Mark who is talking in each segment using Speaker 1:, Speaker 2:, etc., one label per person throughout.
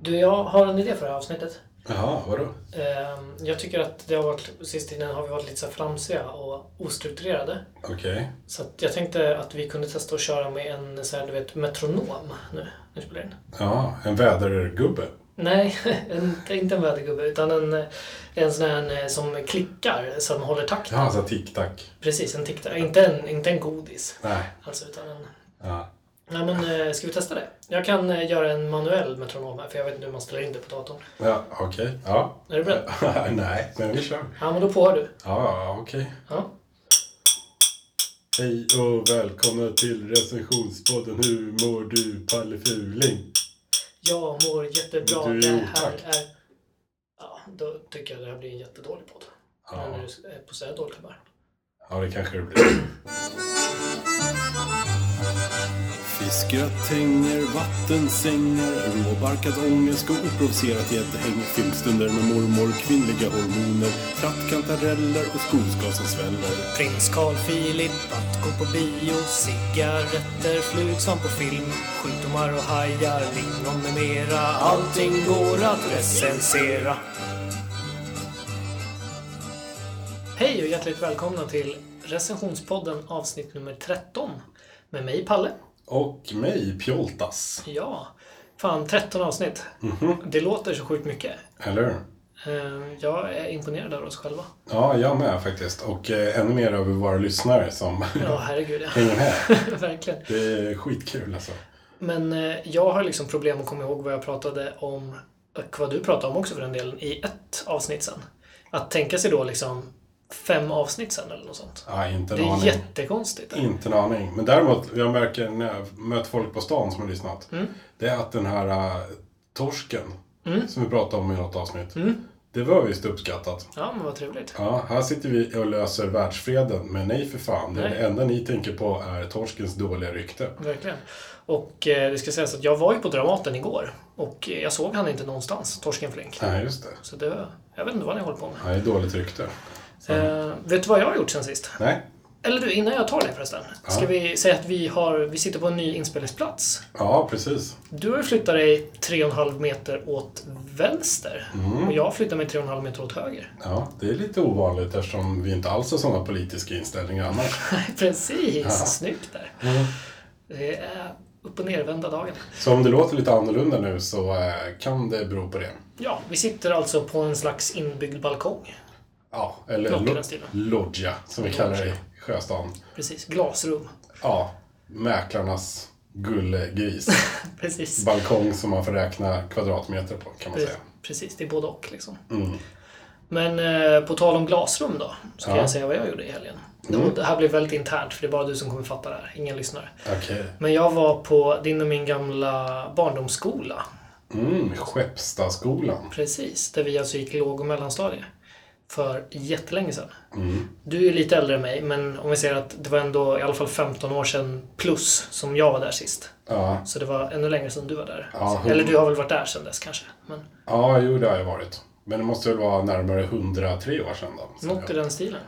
Speaker 1: Du, jag har en idé för det här avsnittet.
Speaker 2: Jaha, vadå?
Speaker 1: Ehm, Jag tycker att det har varit, sist innan har vi varit lite så här flamsiga och ostrukturerade.
Speaker 2: Okej.
Speaker 1: Så att jag tänkte att vi kunde testa att köra med en så här, du vet, metronom nu när vi spelar in.
Speaker 2: Ja, en vädergubbe.
Speaker 1: Nej, en, inte en vädergubbe utan en, en sån här eh, som klickar, som håller takt.
Speaker 2: Ja, så tic-tac.
Speaker 1: Precis, en tiktare. Inte en, inte en godis.
Speaker 2: Nej.
Speaker 1: Alltså, utan en...
Speaker 2: Ja.
Speaker 1: Nej men, eh, ska vi testa det? Jag kan eh, göra en manuell metronom här, för jag vet inte hur man ställer in det på datorn.
Speaker 2: Ja, okej. Ja.
Speaker 1: Är du beredd?
Speaker 2: Nej, men vi kör.
Speaker 1: Ja, men då påhör du.
Speaker 2: Ja, ja, okej.
Speaker 1: Ja.
Speaker 2: Hej och välkomna till recensionspodden Hur mår du, Palle Fuling?
Speaker 1: Jag mår jättebra.
Speaker 2: Du,
Speaker 1: det
Speaker 2: jo,
Speaker 1: här
Speaker 2: tack.
Speaker 1: är... Ja, då tycker jag det här blir en jättedålig podd.
Speaker 2: Ja.
Speaker 1: När du är på så här dåligt humör.
Speaker 2: Ja, det kanske det blir.
Speaker 3: Fiskgröt, hänger, vattensängar, råbarkad ångest och oprovocerat gäddhäng. Filmstunder med mormor, kvinnliga hormoner, trattkantareller och skogsgas som sväller.
Speaker 1: Prins Carl Philip, att gå på bio, cigaretter, flug som på film, sjukdomar och hajar, lingon med mera. Allting går att recensera. Hej och hjärtligt välkomna till recensionspodden avsnitt nummer 13. Med mig Palle.
Speaker 2: Och mig, Pjoltas. Mhm,
Speaker 1: Ja, fan 13 avsnitt. Det låter så sjukt mycket.
Speaker 2: Eller hur?
Speaker 1: Eh, Jag är imponerad över oss själva.
Speaker 2: Ja, jag med faktiskt. Och eh, ännu mer över våra lyssnare som
Speaker 1: Ja, herregud ja.
Speaker 2: hänger med.
Speaker 1: Verkligen.
Speaker 2: Det är skitkul alltså.
Speaker 1: Men eh, jag har liksom problem att komma ihåg vad jag pratade om och vad du pratade om också för den delen i ett avsnitt sen. Att tänka sig då liksom fem avsnitt sen eller något sånt.
Speaker 2: Ja, inte en
Speaker 1: Det är
Speaker 2: aning. Mm.
Speaker 1: jättekonstigt.
Speaker 2: Inte en aning. Men däremot, jag märker när jag möter folk på stan som har lyssnat. Det är att den här äh, torsken som vi pratade om i något avsnitt. Det var visst uppskattat.
Speaker 1: Ja, men vad trevligt.
Speaker 2: Ja, här sitter vi och löser världsfreden. Men nej för fan, det,
Speaker 1: Nej.
Speaker 2: det enda ni tänker på är torskens dåliga rykte.
Speaker 1: Verkligen. Och eh, det ska sägas att jag var ju på Dramaten igår och eh, jag såg han inte någonstans, Torsken Flink.
Speaker 2: Nej, just det.
Speaker 1: Så det, jag vet inte vad ni håller på med.
Speaker 2: Nej, dåligt rykte. Mm.
Speaker 1: Eh, vet du vad jag har gjort sen sist?
Speaker 2: Nej?
Speaker 1: Eller du, innan jag tar det förresten. Ska vi säga att vi, har, vi sitter på en ny inspelningsplats.
Speaker 2: Ja, precis.
Speaker 1: Du har ju flyttat dig 3,5 meter åt vänster. Och jag flyttar mig 3,5 meter åt höger.
Speaker 2: Ja, det är lite ovanligt eftersom vi inte alls har sådana politiska inställningar annars.
Speaker 1: Precis, snyggt där. Det är upp och nervända dagen.
Speaker 2: Så om det låter lite annorlunda nu så eh, kan det bero på det.
Speaker 1: Ja, vi sitter alltså på en slags inbyggd balkong.
Speaker 2: Ja, eller
Speaker 1: Något i
Speaker 2: lo-
Speaker 1: den stilen.
Speaker 2: loggia som vi kallar det
Speaker 1: Loggia.
Speaker 2: i Sjöstaden.
Speaker 1: Precis, glasrum.
Speaker 2: Ja, mäklarnas gullegris.
Speaker 1: Precis.
Speaker 2: Balkong som man får räkna kvadratmeter på kan man säga.
Speaker 1: Precis, det är både och liksom. Men eh, på tal om glasrum då, så kan
Speaker 2: Ja.
Speaker 1: jag säga vad jag gjorde i helgen. Det var- Det här blir väldigt internt, för det är bara du som kommer fatta det här. Ingen lyssnare.
Speaker 2: Okej.
Speaker 1: Men jag var på din och min gamla barndomsskola.
Speaker 2: Mm, Skeppstadsskolan.
Speaker 1: Precis, där vi alltså gick låg och mellanstadie. För jättelänge sedan.
Speaker 2: Mm.
Speaker 1: Du är ju lite äldre än mig, men om vi säger att det var ändå i alla fall 15 år sedan plus som jag var där sist.
Speaker 2: Ja,
Speaker 1: Så det var ännu längre sedan du var där.
Speaker 2: Ja, hur-
Speaker 1: Eller du har väl varit där sedan dess kanske? Men
Speaker 2: ja jo det har jag varit. Men det måste väl vara närmare 103 år sedan då. Så
Speaker 1: Något i
Speaker 2: jag-
Speaker 1: den stilen.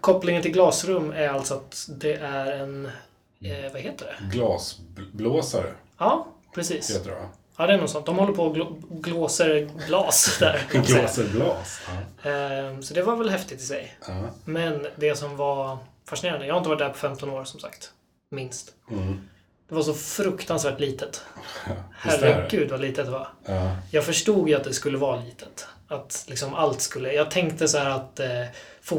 Speaker 1: Kopplingen till glasrum är alltså att det är en...
Speaker 2: Mm.
Speaker 1: Eh, vad heter det?
Speaker 2: Glasblåsare
Speaker 1: Ja, precis.
Speaker 2: heter det va?
Speaker 1: Ja, det är något sånt. De håller på och gl- glåser glas där. kan man säga.
Speaker 2: Glaserglas. Ja.
Speaker 1: Ehm, Så det var väl häftigt i sig.
Speaker 2: Ja.
Speaker 1: Men det som var fascinerande, jag har inte varit där på 15 år som sagt. Minst.
Speaker 2: Mm.
Speaker 1: Det var så fruktansvärt litet.
Speaker 2: Visst är det?
Speaker 1: Herregud vad litet det var.
Speaker 2: Ja.
Speaker 1: Jag förstod ju att det skulle vara litet. Att liksom allt skulle... Jag tänkte så här att eh,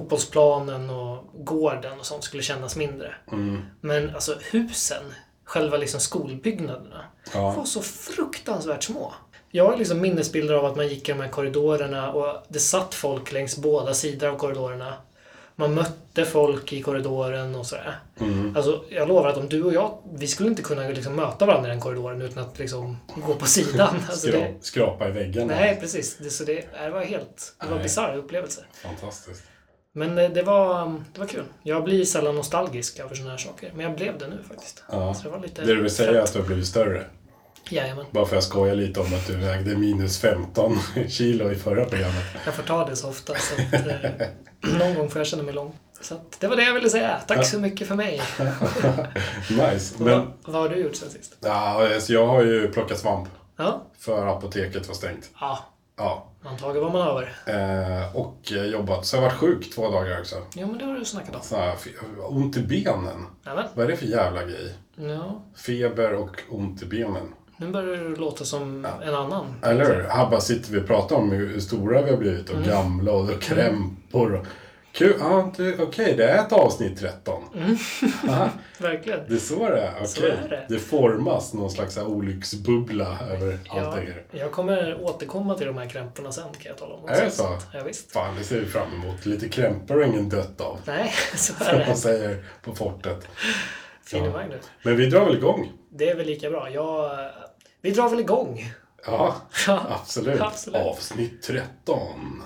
Speaker 1: fotbollsplanen och gården och sånt skulle kännas mindre.
Speaker 2: Mm.
Speaker 1: Men alltså husen, själva liksom skolbyggnaderna,
Speaker 2: Ja.
Speaker 1: var så fruktansvärt små. Jag har liksom minnesbilder av att man gick i de här korridorerna och det satt folk längs båda sidor av korridorerna. Man mötte folk i korridoren och sådär.
Speaker 2: Mm.
Speaker 1: Alltså, jag lovar att om du och jag, vi skulle inte kunna liksom möta varandra i den korridoren utan att liksom gå på sidan. Alltså,
Speaker 2: Skra-
Speaker 1: det,
Speaker 2: Skrapa i väggarna.
Speaker 1: Nej, precis. Det, så det, det var helt... Det var en
Speaker 2: Nej.
Speaker 1: bisarr upplevelse.
Speaker 2: Fantastiskt.
Speaker 1: Men eh, det var, det var kul. Jag blir sällan nostalgisk över sådana här saker. Men jag blev det nu faktiskt.
Speaker 2: Ja.
Speaker 1: Så det var lite...
Speaker 2: Det du vill säga är
Speaker 1: fett.
Speaker 2: att du har blivit större?
Speaker 1: Jajamän.
Speaker 2: Bara för jag skojar lite om att du vägde minus 15 kilo i förra programmet.
Speaker 1: Jag får ta det så ofta. Så att, eh, någon gång får jag känna mig lång. Så att, det var det jag ville säga. Tack så mycket för mig.
Speaker 2: Nice.
Speaker 1: Vad-
Speaker 2: Men
Speaker 1: Vad har du gjort sen sist?
Speaker 2: ja, alltså jag har ju plockat svamp.
Speaker 1: Ja, Ja.
Speaker 2: För apoteket var stängt.
Speaker 1: Ja,
Speaker 2: Ja.
Speaker 1: man tager vad man över.
Speaker 2: Eh, och eh, jobbat. Så jag var sjuk två dagar också.
Speaker 1: Ja, men det har du snackat om.
Speaker 2: Så här, fe- ont i benen.
Speaker 1: Nämen.
Speaker 2: Vad är det för jävla grej?
Speaker 1: Ja,
Speaker 2: Feber och ont i benen.
Speaker 1: nu börjar du låta som en annan.
Speaker 2: Eller hur? Här bara sitter vi och pratar om hur stora vi har blivit och gamla och krämpor. Och... Kul. Ja, det- Okej, det är ett avsnitt 13. Aha,
Speaker 1: Verkligen.
Speaker 2: det är så det är.
Speaker 1: Så
Speaker 2: Okej.
Speaker 1: är det.
Speaker 2: Det formas någon slags så här olycksbubbla över allt det
Speaker 1: Ja,
Speaker 2: här.
Speaker 1: jag kommer återkomma till de här krämporna sen kan jag tala om.
Speaker 2: Är det så?
Speaker 1: Ja, visst.
Speaker 2: Fan, det ser vi fram emot. Lite krämpor och ingen dött av.
Speaker 1: Nej, så är
Speaker 2: Som man
Speaker 1: det.
Speaker 2: säger på fortet.
Speaker 1: Fin
Speaker 2: Ja.
Speaker 1: ja. Magnus.
Speaker 2: Men vi drar väl igång?
Speaker 1: Det är väl lika bra. Jag, vi drar väl igång.
Speaker 2: Ja,
Speaker 1: Ja,
Speaker 2: absolut.
Speaker 1: absolut.
Speaker 2: Avsnitt 13.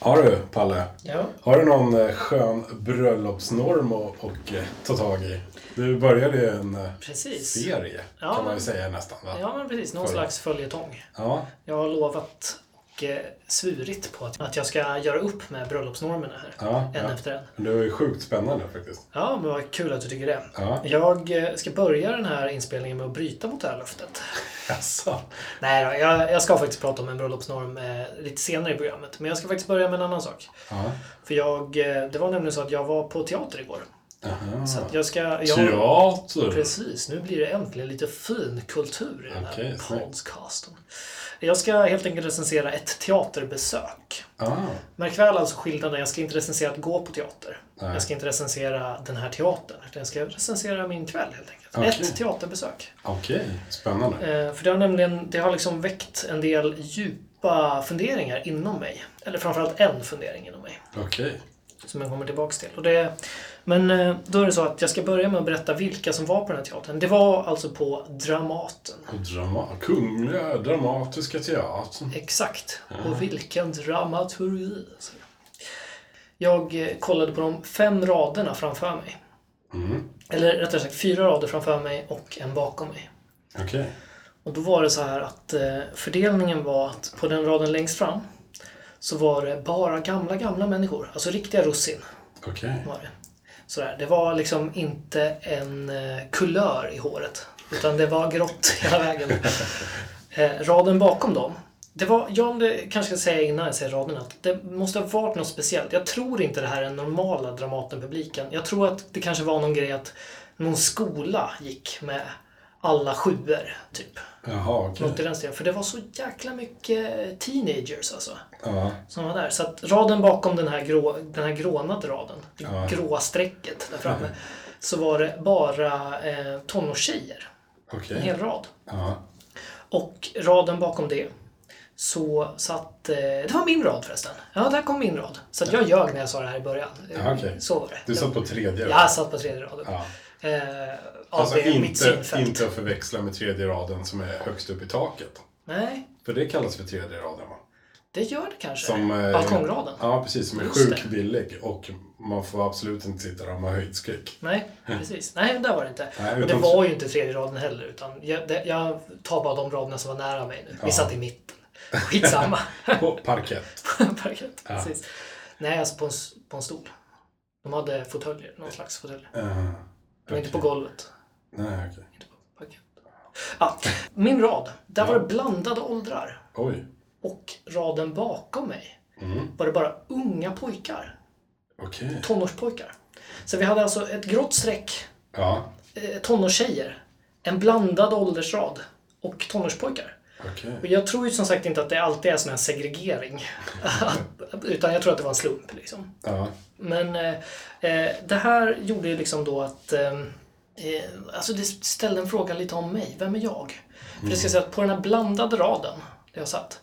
Speaker 2: Har du, Palle?
Speaker 1: Ja.
Speaker 2: Har du någon eh, skön bröllopsnorm att och, eh, ta tag i? Du började ju en eh,
Speaker 1: Precis.
Speaker 2: serie,
Speaker 1: Ja,
Speaker 2: kan man ju
Speaker 1: men-
Speaker 2: säga nästan. Va?
Speaker 1: Ja, men precis. Någon
Speaker 2: Följ.
Speaker 1: slags följetong.
Speaker 2: Ja.
Speaker 1: Jag har lovat och eh, svurit på att- att jag ska göra upp med bröllopsnormerna här.
Speaker 2: Ja,
Speaker 1: en
Speaker 2: ja.
Speaker 1: efter en.
Speaker 2: Men Det var ju sjukt spännande faktiskt.
Speaker 1: Ja, men vad kul att du tycker det.
Speaker 2: Ja.
Speaker 1: Jag eh, ska börja den här inspelningen med att bryta mot det här löftet.
Speaker 2: Jaså?
Speaker 1: Nej då, jag, jag ska faktiskt prata om en bröllopsnorm eh, lite senare i programmet. Men jag ska faktiskt börja med en annan sak.
Speaker 2: Ja.
Speaker 1: För jag, eh, det var nämligen så att jag var på teater igår.
Speaker 2: Aha.
Speaker 1: Så att jag ska... Jag,
Speaker 2: Teater!
Speaker 1: Precis, nu blir det äntligen lite fin kultur i den här
Speaker 2: Okej, snyggt.
Speaker 1: podcasten. Jag ska helt enkelt recensera ett teaterbesök.
Speaker 2: Ah.
Speaker 1: Märk väl alltså skillnaden, jag ska inte recensera att gå på teater.
Speaker 2: Nej.
Speaker 1: Jag ska inte recensera den här teatern, utan jag ska recensera min kväll helt enkelt.
Speaker 2: Okej.
Speaker 1: Ett teaterbesök.
Speaker 2: Okej, spännande.
Speaker 1: Eh, För det har nämligen, det har liksom väckt en del djupa funderingar inom mig. Eller framförallt en fundering inom mig.
Speaker 2: Okej.
Speaker 1: Som jag kommer tillbaks till. Och det, men eh, då är det så att jag ska börja med att berätta vilka som var på den här teatern. Det var alltså på Dramaten.
Speaker 2: Och Drama- Kungliga Dramatiska Teatern.
Speaker 1: Exakt.
Speaker 2: Mm.
Speaker 1: Och vilken dramaturgi. alltså. Jag eh, kollade på de fem raderna framför mig.
Speaker 2: Mm.
Speaker 1: Eller rättare sagt fyra rader framför mig och en bakom mig.
Speaker 2: Okej.
Speaker 1: Och då var det så här att eh, fördelningen var att på den raden längst fram så var det bara gamla, gamla människor. Alltså riktiga russin.
Speaker 2: Okej.
Speaker 1: var det. Sådär. Det var liksom inte en eh, kulör i håret, utan det var grått hela vägen. Eh, raden bakom dem, det var, jag det kanske ska säga innan jag säger raden, att det måste ha varit något speciellt. Jag tror inte det här är den normala Dramatenpubliken. Jag tror att det kanske var någon grej att någon skola gick med alla sjuor, typ.
Speaker 2: Jaha, okej.
Speaker 1: Något i den stilen. För det var så jäkla mycket teenagers alltså
Speaker 2: Ja.
Speaker 1: som var där. Så att raden bakom den här, grå, den här grånade raden, det
Speaker 2: Ja. Mm-hmm.
Speaker 1: gråa strecket där framme, så var det bara eh, tonårstjejer.
Speaker 2: Okej.
Speaker 1: En hel rad.
Speaker 2: Ja.
Speaker 1: Och raden bakom det så satt... Eh, det var min rad förresten. Ja, där kom min rad. Så att jag ljög när jag sa det här i början. Eh,
Speaker 2: Ja, okej.
Speaker 1: Så var det.
Speaker 2: Du satt på tredje?
Speaker 1: Jag satt på tredje raden.
Speaker 2: Ja.
Speaker 1: Eh, av
Speaker 2: Alltså
Speaker 1: det- mitt
Speaker 2: inte,
Speaker 1: synfält.
Speaker 2: inte att förväxla med tredje raden som är högst upp i taket.
Speaker 1: Nej,
Speaker 2: För det kallas för tredje raden va?
Speaker 1: det gör det kanske.
Speaker 2: Som, eh,
Speaker 1: Balkongraden.
Speaker 2: Ja, precis. Som är
Speaker 1: Just
Speaker 2: sjuk
Speaker 1: det.
Speaker 2: billig och man får absolut inte sitta där om man har höjdskräck.
Speaker 1: Nej, precis. Nej, där var det inte.
Speaker 2: Nej,
Speaker 1: och det
Speaker 2: utan-
Speaker 1: var ju inte tredje raden heller. Utan jag, det, jag tar bara de raderna som var nära mig nu. Vi satt i mitten. Skitsamma.
Speaker 2: På parkett.
Speaker 1: Parkett. Precis. Nej, alltså på en, s- på en stol. De hade fåtöljer, någon slags fåtöljer.
Speaker 2: Eh,
Speaker 1: Men inte på golvet.
Speaker 2: nej, okej.
Speaker 1: Inte på parkett. Ja, min rad. Där var det blandade åldrar.
Speaker 2: Oj. Mm.
Speaker 1: Och raden bakom mig var det bara unga pojkar.
Speaker 2: Okej.
Speaker 1: Tonårspojkar. Så vi hade alltså ett grått streck
Speaker 2: Ja.
Speaker 1: eh, tonårstjejer, en blandad åldersrad och tonårspojkar.
Speaker 2: Okej.
Speaker 1: Och jag tror ju som sagt inte att det alltid är sån här segregering. Utan jag tror att det var en slump. Liksom.
Speaker 2: Ja.
Speaker 1: Men eh, eh, det här gjorde ju liksom då att eh, eh, Alltså det ställde en fråga lite om mig. Vem är jag? För det ska säga att på den här blandade raden där jag satt,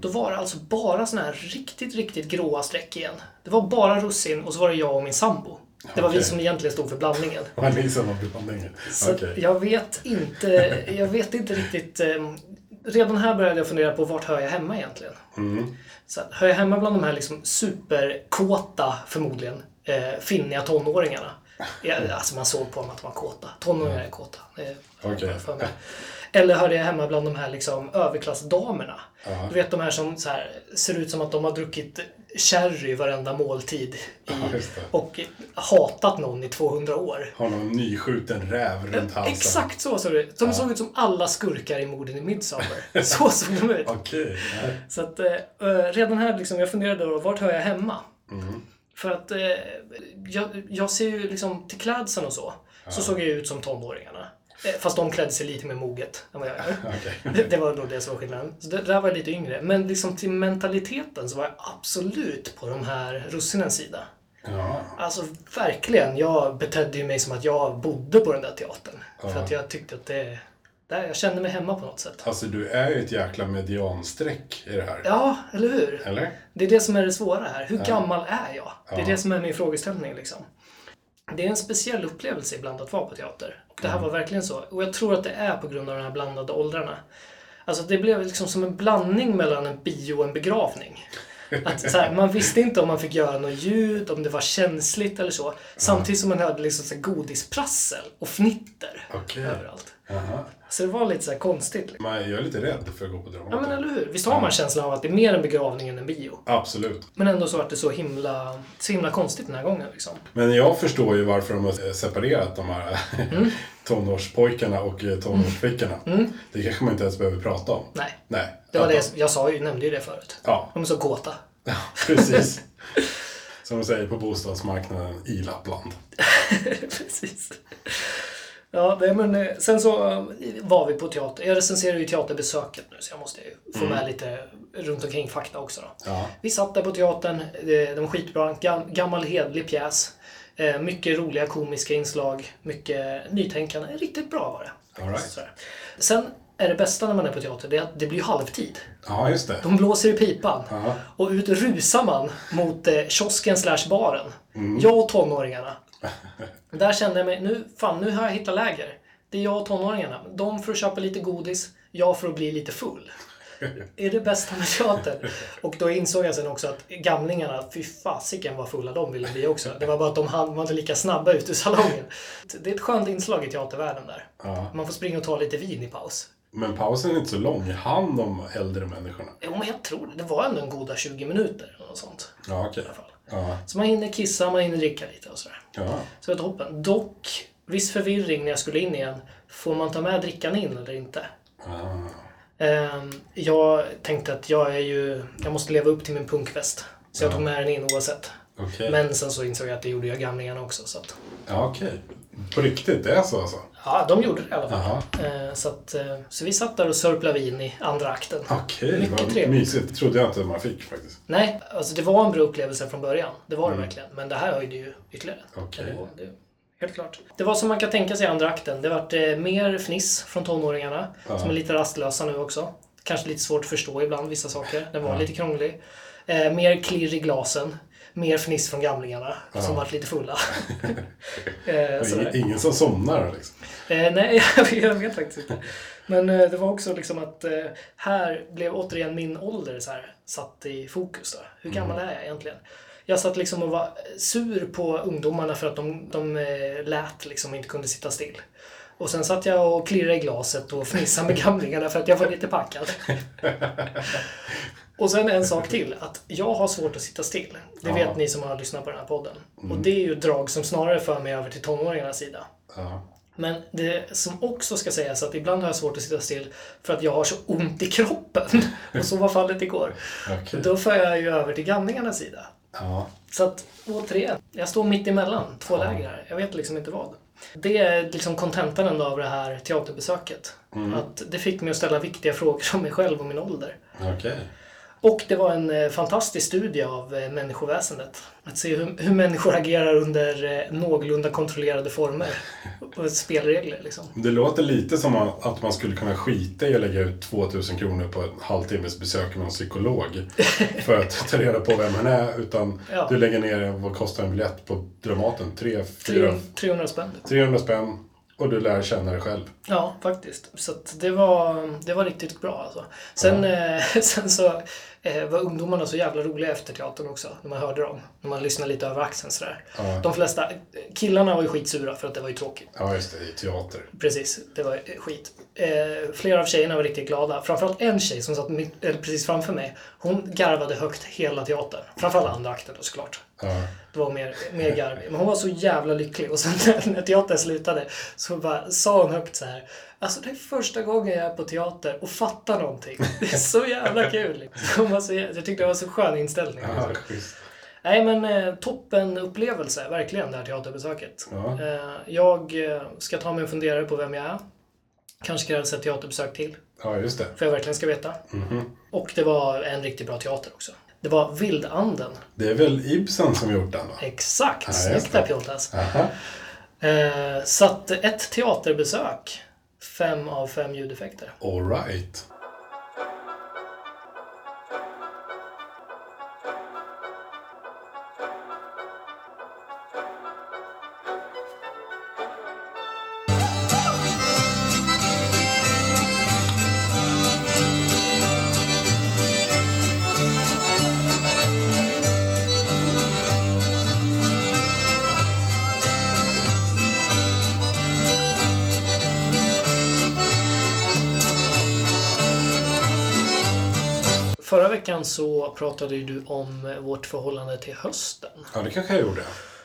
Speaker 1: då var det alltså bara såna här riktigt, riktigt gråa streck igen. Det var bara russin och så var det jag och min sambo. Det var vi
Speaker 2: Okej.
Speaker 1: som egentligen stod för blandningen.
Speaker 2: Det var liksom en blandning.
Speaker 1: Så
Speaker 2: Okej.
Speaker 1: jag vet inte, jag vet inte riktigt. ehm, redan här började jag fundera på vart hör jag hemma egentligen?
Speaker 2: Mm.
Speaker 1: Så att, hör jag hemma bland de här liksom superkåta, förmodligen, eh, finniga tonåringarna? Ja, alltså man såg på dem att de var kåta. Tonåringar är kåta. Eh,
Speaker 2: Mm. Okej.
Speaker 1: för mig. Eller hörde jag hemma bland de här liksom överklassdamerna.
Speaker 2: Ja.
Speaker 1: Du vet de här som så här, ser ut som att de har druckit sherry varenda måltid. I,
Speaker 2: Ja, just det.
Speaker 1: och hatat någon i 200 år.
Speaker 2: Har någon nyskjuten räv runt halsen.
Speaker 1: Exakt så såg det ut. De såg ut som alla skurkar i morden i Midsommar. så såg de ut.
Speaker 2: Okej. nej.
Speaker 1: Så att eh, eh, redan här liksom, jag funderade då, vart hör jag hemma?
Speaker 2: Mm.
Speaker 1: För att eh, jag, jag ser ju liksom till klädseln och så, så såg jag ut som tonåringarna. Eh, Fast de klädde sig lite mer moget än vad jag gör.
Speaker 2: Okej.
Speaker 1: Det, det var nog det som var skillnaden. Så det, där var jag lite yngre. Men liksom till mentaliteten så var jag absolut på de här russinens sida.
Speaker 2: Ja.
Speaker 1: Alltså verkligen, jag betedde ju mig som att jag bodde på den där teatern. För
Speaker 2: Ja.
Speaker 1: att jag tyckte att det... Där, jag kände mig hemma på något sätt.
Speaker 2: Alltså du är ju ett jäkla medianstreck i det här.
Speaker 1: Ja, eller hur?
Speaker 2: Eller?
Speaker 1: Det är det som är det svåra här. Hur gammal är jag? Det är det som är min frågeställning liksom. Det är en speciell upplevelse ibland att vara på teater. Och det här var verkligen så. Och jag tror att det är på grund av de här blandade åldrarna. Alltså det blev liksom som en blandning mellan en bio och en begravning. Att så här, man visste inte om man fick göra något ljud, om det var känsligt eller så. Samtidigt som man hörde liksom så här godisprassel och fnitter
Speaker 2: Okej.
Speaker 1: överallt.
Speaker 2: Jaha.
Speaker 1: Så det var lite så här konstigt. Liksom.
Speaker 2: Men jag är lite rädd för att gå på Dramaten.
Speaker 1: Ja men eller hur? Visst har man känslan av att det är mer en begravning än en bio?
Speaker 2: Absolut.
Speaker 1: Men ändå så att det är så himla, så himla konstigt den här gången. Liksom.
Speaker 2: Men jag förstår ju varför de har separerat de här
Speaker 1: Mm.
Speaker 2: tonårspojkarna och eh, tonårsflickorna. Det kanske man inte ens behöver prata om.
Speaker 1: Nej,
Speaker 2: Nej.
Speaker 1: det var
Speaker 2: Att
Speaker 1: det jag sa ju, nämnde ju det förut.
Speaker 2: Ja,
Speaker 1: De är så kåta.
Speaker 2: precis. Som de säger på bostadsmarknaden i Lappland.
Speaker 1: Precis. Ja, nej, men eh, sen så eh, var vi på teater. Jag recenserar ju teaterbesöket nu så jag måste ju få med lite runt omkring fakta också då.
Speaker 2: Mm. Ja.
Speaker 1: Vi satt där på teatern, eh, den var skitbra. Gam- Gammal hedlig pjäs. Eh, Mycket roliga komiska inslag, mycket nytänkande. Riktigt bra var det.
Speaker 2: All right.
Speaker 1: Sådär. Sen är det bästa när man är på teater, det är att det blir halvtid.
Speaker 2: Ja, just det.
Speaker 1: De blåser i pipan.
Speaker 2: Ja.
Speaker 1: Och ut rusar man mot eh, kiosken slash baren.
Speaker 2: Mm.
Speaker 1: Jag och tonåringarna. Där kände jag mig, nu, fan nu har jag hittat läger. Det är jag och tonåringarna. De för att köpa lite godis, jag för att bli lite full. är det bästa med teater? Och då insåg jag sen också att gamlingarna, fy fasiken vad fulla de ville bli också. Det var bara att de hann- var inte lika snabba ut ur salongen. Det är ett skönt inslag i teatervärlden där.
Speaker 2: Ja.
Speaker 1: Man får springa och ta lite vin i paus.
Speaker 2: Men pausen är inte så lång. Han de äldre människorna.
Speaker 1: Jo, men jag tror det. Det var ändå en goda 20 minuter eller något sånt.
Speaker 2: Ja, okej.
Speaker 1: alla fall.
Speaker 2: Ja.
Speaker 1: Så man hinner kissa, man hinner dricka lite och sådär.
Speaker 2: ja.
Speaker 1: Så det var toppen. Dock, viss förvirring när jag skulle in igen. Får man ta med drickan in eller inte?
Speaker 2: Ah.
Speaker 1: Ehm, Jag tänkte att jag är ju... Jag måste leva upp till min punkväst. Så jag tog med den in oavsett.
Speaker 2: Okej.
Speaker 1: Men sen så insåg jag att det gjorde jag gamlingarna också. Så att,
Speaker 2: Ja, okej. På riktigt, det är så alltså?
Speaker 1: ja, de gjorde det i alla fall.
Speaker 2: Jaha.
Speaker 1: Ehm, Så, att, eh, så vi satt där och sörplade vin i andra akten.
Speaker 2: Okej,
Speaker 1: Mycket
Speaker 2: vad
Speaker 1: trevligt.
Speaker 2: mysigt. trodde jag inte man fick faktiskt.
Speaker 1: Nej, alltså det var en bra upplevelse från början. Det var det verkligen. Men det här höjde ju ytterligare.
Speaker 2: Okej.
Speaker 1: Det var- det- Helt klart. Det var som man kan tänka sig i andra akten. Det vart eh, mer fniss från tonåringarna,
Speaker 2: Ja.
Speaker 1: som är lite rastlösa nu också. Kanske lite svårt att förstå ibland vissa saker. Den var lite krånglig. Eh, mer klirr i glasen. Mer fniss från gamlingarna, som vart lite fulla. eh, sådär.
Speaker 2: Ingen, ingen som somnar liksom.
Speaker 1: Eh, nej, jag vet, jag vet faktiskt inte. Men eh, det var också liksom att eh, här blev återigen min ålder så här, satt i fokus. Då. Hur gammal är jag egentligen? Jag satt liksom och var sur på ungdomarna för att de, de eh, lät liksom och inte kunde sitta still. Och sen satt jag och klirrade i glaset och fnissade med gamlingarna för att jag var lite packad. Och sen en sak till, att jag har svårt att sitta still. Det
Speaker 2: Ja.
Speaker 1: vet ni som har lyssnat på den här podden. Och det är ju ett drag som snarare för mig över till tonåringarnas sida.
Speaker 2: Ja.
Speaker 1: Men det som också ska sägas att ibland har jag svårt att sitta still för att jag har så ont i kroppen. Och så var fallet igår.
Speaker 2: Okej.
Speaker 1: Då för jag ju över till gamlingarnas sida.
Speaker 2: Ja.
Speaker 1: Så att återigen, jag står mitt emellan två läger här. Jag vet liksom inte vad. Det är liksom kontentan ändå av det här teaterbesöket. Att det fick mig att ställa viktiga frågor om mig själv och min ålder.
Speaker 2: Okej.
Speaker 1: Och det var en eh, fantastisk studie av eh, människoväsendet. Att se hur, hur människor agerar under eh, någorlunda kontrollerade former och spelregler. Liksom.
Speaker 2: Det låter lite som att man skulle kunna skita i att lägga ut 2000 kronor på en halvtimmes besök med en psykolog för att ta reda på vem han är. Utan
Speaker 1: Ja.
Speaker 2: du lägger ner, vad kostar en biljett på Dramaten? 3, 4,
Speaker 1: 300 spänn.
Speaker 2: 300 spänn. Och du lär känna dig själv.
Speaker 1: Ja, faktiskt. Så att det, var, det var riktigt bra alltså. Sen, eh, sen så eh, var ungdomarna så jävla roliga efter teatern också, när man hörde dem. När man lyssnade lite över axeln sådär.
Speaker 2: Ja.
Speaker 1: De flesta, eh, killarna var ju skitsura för att det var ju tråkigt.
Speaker 2: Ja, just det. I teater.
Speaker 1: Precis, det var eh, skit. Eh, flera av tjejerna var riktigt glada. Framförallt en tjej som satt mitt, eller precis framför mig. Hon garvade högt hela teatern. Framförallt andra akten då såklart.
Speaker 2: Ja.
Speaker 1: Det var mer, mer garv. Men hon var så jävla lycklig. Och sen när, när teatern slutade så bara sa hon högt så här. Alltså det är första gången jag är på teater och fattar någonting. Det är så jävla kul. Hon var så, jä- jag tyckte det var en så skön inställning.
Speaker 2: Ja, schysst.
Speaker 1: Nej men eh, toppen upplevelse, verkligen, det här teaterbesöket.
Speaker 2: Ja.
Speaker 1: Eh, jag eh, ska ta mig en funderare på vem jag är. Kanske krävs ett teaterbesök till,
Speaker 2: ja, just det.
Speaker 1: för jag verkligen ska veta.
Speaker 2: Mhm.
Speaker 1: Och det var en riktigt bra teater också. Det var Vildanden.
Speaker 2: Det är väl Ibsen som gjort den, va?
Speaker 1: Exakt!
Speaker 2: Ja, just
Speaker 1: Snyggt där Pjoltas.
Speaker 2: Aha.
Speaker 1: Eh, så att ett teaterbesök. Fem av fem ljudeffekter.
Speaker 2: All right.
Speaker 1: Förra veckan så pratade ju du om vårt förhållande till hösten.
Speaker 2: Ja, det kanske jag gjorde.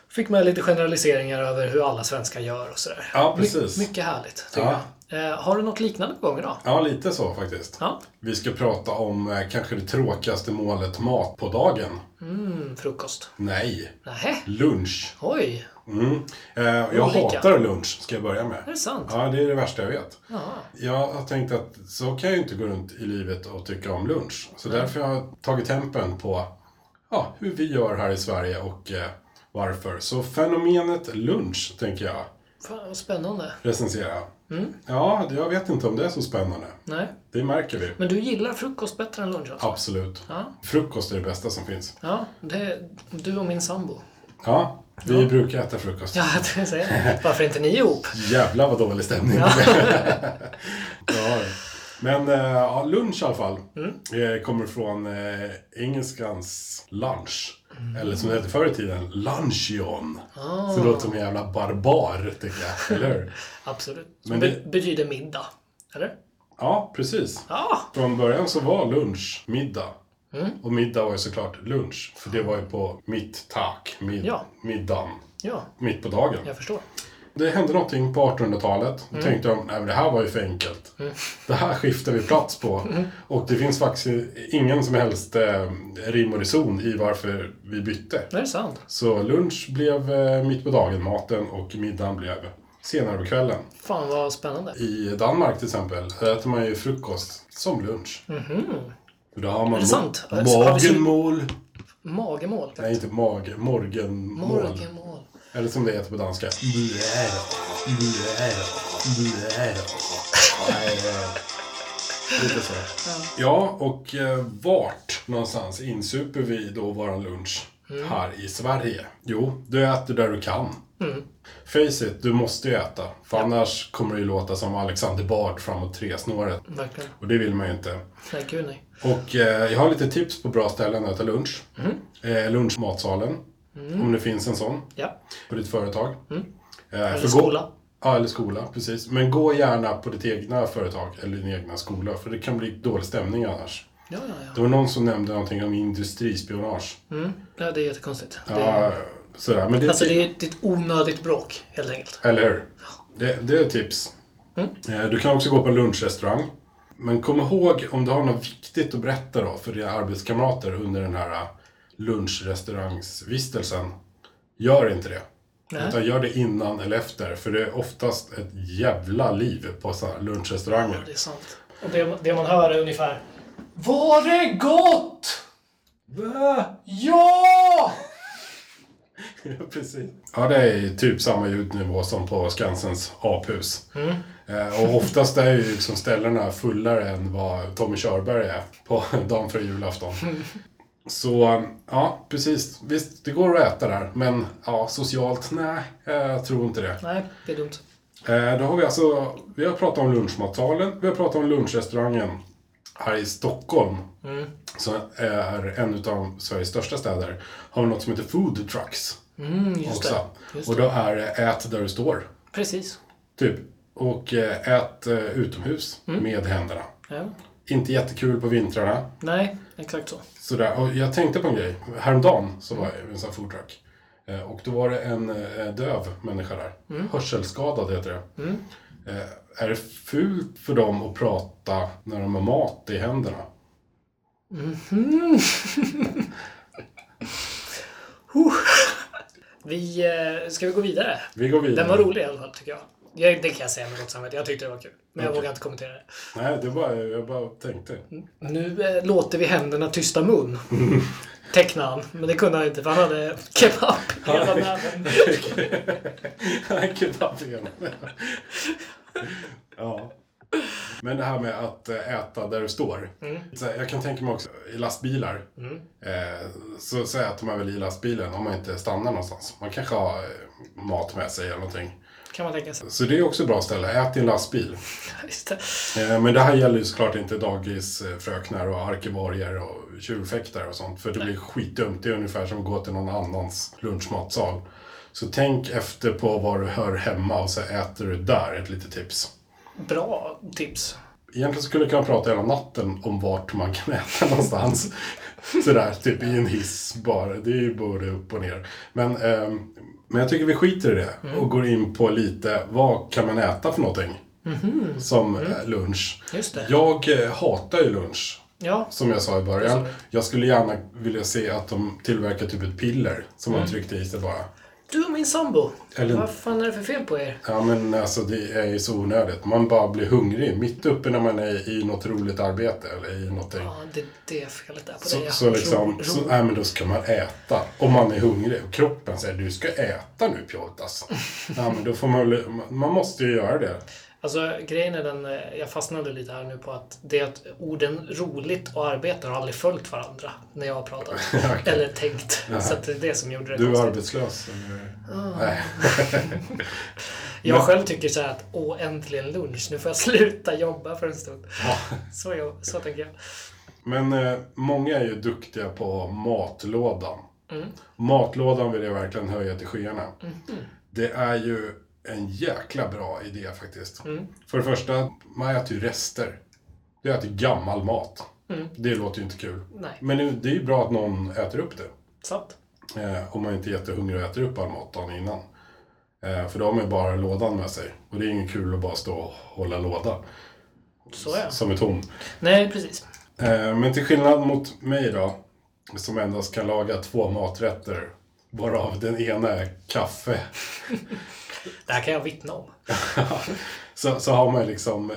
Speaker 1: Fick med lite generaliseringar över hur alla svenskar gör och sådär.
Speaker 2: Ja, precis.
Speaker 1: My- mycket härligt, tycker
Speaker 2: Ja.
Speaker 1: jag. Eh, har du något liknande på gång idag?
Speaker 2: Ja, lite så faktiskt.
Speaker 1: Ja.
Speaker 2: Vi ska prata om eh, kanske det tråkigaste målet mat på dagen.
Speaker 1: Mm, frukost.
Speaker 2: Nej,
Speaker 1: Nähä?
Speaker 2: lunch.
Speaker 1: Oj,
Speaker 2: Mm. Eh, jag
Speaker 1: Olika.
Speaker 2: hatar lunch, ska jag börja
Speaker 1: är
Speaker 2: med.
Speaker 1: det sant?
Speaker 2: Ja, det är det värsta jag vet.
Speaker 1: Jaha.
Speaker 2: Jag har tänkt att så kan jag ju inte gå runt i livet och tycka om lunch. Så därför har jag tagit tempen på ja, hur vi gör här i Sverige och eh, varför. Så fenomenet lunch tänker jag
Speaker 1: Fan, vad spännande.
Speaker 2: recensera.
Speaker 1: Mm.
Speaker 2: Ja, jag vet inte om det är så spännande.
Speaker 1: Nej.
Speaker 2: Det märker vi.
Speaker 1: Men du gillar frukost bättre än lunch alltså?
Speaker 2: Absolut.
Speaker 1: Ja.
Speaker 2: Frukost är det bästa som finns.
Speaker 1: Ja, det, du och min sambo.
Speaker 2: Ja, vi brukar äta frukost.
Speaker 1: Ja, jag tänkte säga Varför är inte ni ihop?
Speaker 2: Jävlar vad dålig stämning det ja. Men eh, ja, lunch i alla fall eh, kommer från eh, engelskans lunch. Eller som det hette förr i tiden, lunchion. Så det låter som en jävla barbar, tycker jag. Eller hur?
Speaker 1: Absolut. Men
Speaker 2: Men det-
Speaker 1: Betyder middag. Eller?
Speaker 2: Ja, precis.
Speaker 1: Ja!
Speaker 2: Från början så var lunch middag. Och middag var ju såklart lunch. För det var ju på mitt tak, mid,
Speaker 1: Ja.
Speaker 2: middagen.
Speaker 1: Ja,
Speaker 2: Mitt på dagen.
Speaker 1: jag förstår.
Speaker 2: Det hände någonting på 1800-talet. Då
Speaker 1: Mm.
Speaker 2: tänkte de, nej men det här var ju för enkelt. Det här skiftar vi plats på.
Speaker 1: Mm.
Speaker 2: Och det finns faktiskt ingen som helst eh, rim och reson i varför vi bytte.
Speaker 1: Det är sant.
Speaker 2: Så lunch blev eh, mitt på dagen-maten och middagen blev senare på kvällen.
Speaker 1: Fan vad spännande.
Speaker 2: I Danmark till exempel där äter man ju frukost som lunch. För då har man
Speaker 1: Mhm. Är det sant? Har vi-
Speaker 2: Morgenmål.
Speaker 1: Magemål.
Speaker 2: Nej, inte mage. Morgenmål.
Speaker 1: Morgemål.
Speaker 2: Eller som det heter på danska. Blär. Blär. Blär. Lite så. Ja, och eh, vart någonstans insuper vi då våran lunch här i Sverige? Jo, du äter där du kan. Face it, du måste ju äta. För annars kommer det ju låta som Alexander Bard framåt tresnåret.
Speaker 1: Verkligen.
Speaker 2: Och det vill man ju inte.
Speaker 1: Nej, gud nej.
Speaker 2: Och eh, jag har lite tips på bra ställen att äta lunch. Eh, lunchmatsalen. Om det finns en sån
Speaker 1: Ja.
Speaker 2: på ditt företag. Eh, för gå-
Speaker 1: Mm. Eller skola.
Speaker 2: Ja, eller skola, precis. Men gå gärna på ditt egna företag eller din egna skola, för det kan bli dålig stämning annars.
Speaker 1: Ja, ja, ja.
Speaker 2: Det var någon som nämnde någonting om industrispionage.
Speaker 1: Mm. ja det är jättekonstigt. Det är...
Speaker 2: Ja, sådär. Men det,
Speaker 1: Alltså det är ett- ett onödigt bråk, helt enkelt.
Speaker 2: Eller hur? Det, det är tips. Eh, Du kan också gå på en lunchrestaurang. Men kom ihåg om du har något viktigt att berätta då för dina arbetskamrater under den här eh, lunchrestaurangsvistelsen. Gör inte det.
Speaker 1: Nej.
Speaker 2: Utan gör det innan eller efter. För det är oftast ett jävla liv på sådana lunchrestauranger.
Speaker 1: Det är sant. Och det, det man hör är ungefär Var det gott? Ja!
Speaker 2: Ja, precis. Ja, det är typ samma ljudnivå som på Skansens aphus. Eh, Och oftast är ju liksom ställena fullare än vad Tommy Körberg är på dagen före julafton. Så ja, precis. Visst, det går att äta där, men ja, socialt, nej, jag tror inte det.
Speaker 1: Nej, det är dumt.
Speaker 2: Eh, Då har vi alltså, vi har pratat om lunchmatsalen, vi har pratat om lunchrestaurangen här i Stockholm. Som är en av Sveriges största städer. Har vi något som heter food trucks
Speaker 1: Mm, just
Speaker 2: också.
Speaker 1: det. Just
Speaker 2: Och
Speaker 1: det.
Speaker 2: då är det ät där du står.
Speaker 1: Precis.
Speaker 2: Typ. Och eh, ät eh, utomhus
Speaker 1: Mm.
Speaker 2: med händerna.
Speaker 1: Ja.
Speaker 2: Inte jättekul på vintrarna.
Speaker 1: Nej, exakt så.
Speaker 2: Sådär. Och jag tänkte på en grej. Häromdagen så var jag i en sån här food truck. Eh, Och då var det en eh, döv människa där.
Speaker 1: Mm.
Speaker 2: Hörselskadad heter det. Eh, Är det fult för dem att prata när de har mat i händerna?
Speaker 1: Vi, eh, ska vi gå vidare?
Speaker 2: Vi går vidare.
Speaker 1: Den var rolig i alla fall, tycker jag. jag det kan jag säga med gott samvete. Jag tyckte det var kul. Men jag
Speaker 2: Okej.
Speaker 1: vågar inte kommentera det.
Speaker 2: Nej, det var, jag bara tänkte.
Speaker 1: Nu eh, låter vi händerna tysta mun. Tecknade han. Men det kunde han inte för han hade kebab i hela näven.
Speaker 2: Kebabben. ja. Men det här med att eh, äta där du står. Så här, jag kan tänka mig också i lastbilar. Eh, så, så äter man väl i lastbilen om man inte stannar någonstans. Man kanske har eh, mat med sig eller någonting.
Speaker 1: Kan man tänka sig.
Speaker 2: Så det är också ett bra ställe. Ät i en lastbil.
Speaker 1: Just det.
Speaker 2: Eh, men det här gäller ju såklart inte dagisfröknar och arkivarier och tjurfäktare och sånt. För det blir skitdumt. Det är ungefär som att gå till någon annans lunchmatsal. Så tänk efter på var du hör hemma och så äter du där. Ett litet tips.
Speaker 1: Bra tips.
Speaker 2: Egentligen skulle jag kunna prata hela natten om vart man kan äta någonstans. Sådär, typ i en hiss bara. Det är ju både upp och ner. Men, ehm, men jag tycker vi skiter i det
Speaker 1: Mm.
Speaker 2: och går in på lite, vad kan man äta för någonting? Som eh, lunch.
Speaker 1: Mhm. Mm. Just det.
Speaker 2: Jag eh, hatar ju lunch,
Speaker 1: Ja,
Speaker 2: som jag sa i början.
Speaker 1: Alltså.
Speaker 2: Jag skulle gärna vilja se att de tillverkar typ ett piller som
Speaker 1: Mm.
Speaker 2: man tryckte i sig bara.
Speaker 1: du och min sambo.
Speaker 2: Eller-
Speaker 1: Vad fan är det för fel på er?
Speaker 2: Ja men alltså det är ju så onödigt. Man bara blir hungrig mitt uppe när man är i något roligt arbete eller i någonting.
Speaker 1: Ja, det, det är felet där på dig.
Speaker 2: Så,
Speaker 1: ja.
Speaker 2: så liksom,
Speaker 1: Ro-
Speaker 2: så,
Speaker 1: ro-
Speaker 2: nej men då ska man äta. Om man är hungrig. Och kroppen säger du ska äta nu Pjoltas. ja men då får man väl, man måste ju göra det.
Speaker 1: Alltså grejen är den, eh, jag fastnade lite här nu på att det är att orden roligt och arbete har aldrig följt varandra när jag har pratat. Eller tänkt. Så att det är det som gjorde det
Speaker 2: Du är
Speaker 1: konstigt.
Speaker 2: arbetslös. eller? Nej.
Speaker 1: Jag
Speaker 2: Men-
Speaker 1: själv tycker så här att åh, äntligen lunch. Nu får jag sluta jobba för en stund. Så, jag, så tänker jag.
Speaker 2: Men eh, många är ju duktiga på matlådan.
Speaker 1: Mm.
Speaker 2: Matlådan vill jag verkligen höja till skyarna.
Speaker 1: Mm-hmm.
Speaker 2: Det är ju en jäkla bra idé faktiskt.
Speaker 1: Mm.
Speaker 2: För det första, man äter ju rester. Du äter gammal mat.
Speaker 1: Mm.
Speaker 2: Det låter ju inte kul.
Speaker 1: Nej,
Speaker 2: Men nu- det är ju bra att någon äter upp det.
Speaker 1: sant.
Speaker 2: Eh, om man inte är jättehungrig och äter upp all mat dagen innan. Eh, för då har man ju bara lådan med sig. Och det är ingen kul att bara stå och hålla låda
Speaker 1: Så är det.
Speaker 2: som är tom.
Speaker 1: Nej, precis.
Speaker 2: Eh, Men till skillnad mot mig då, som endast kan laga två maträtter, varav den ena är kaffe,
Speaker 1: Det här kan jag vittna om.
Speaker 2: så, så har man ju liksom,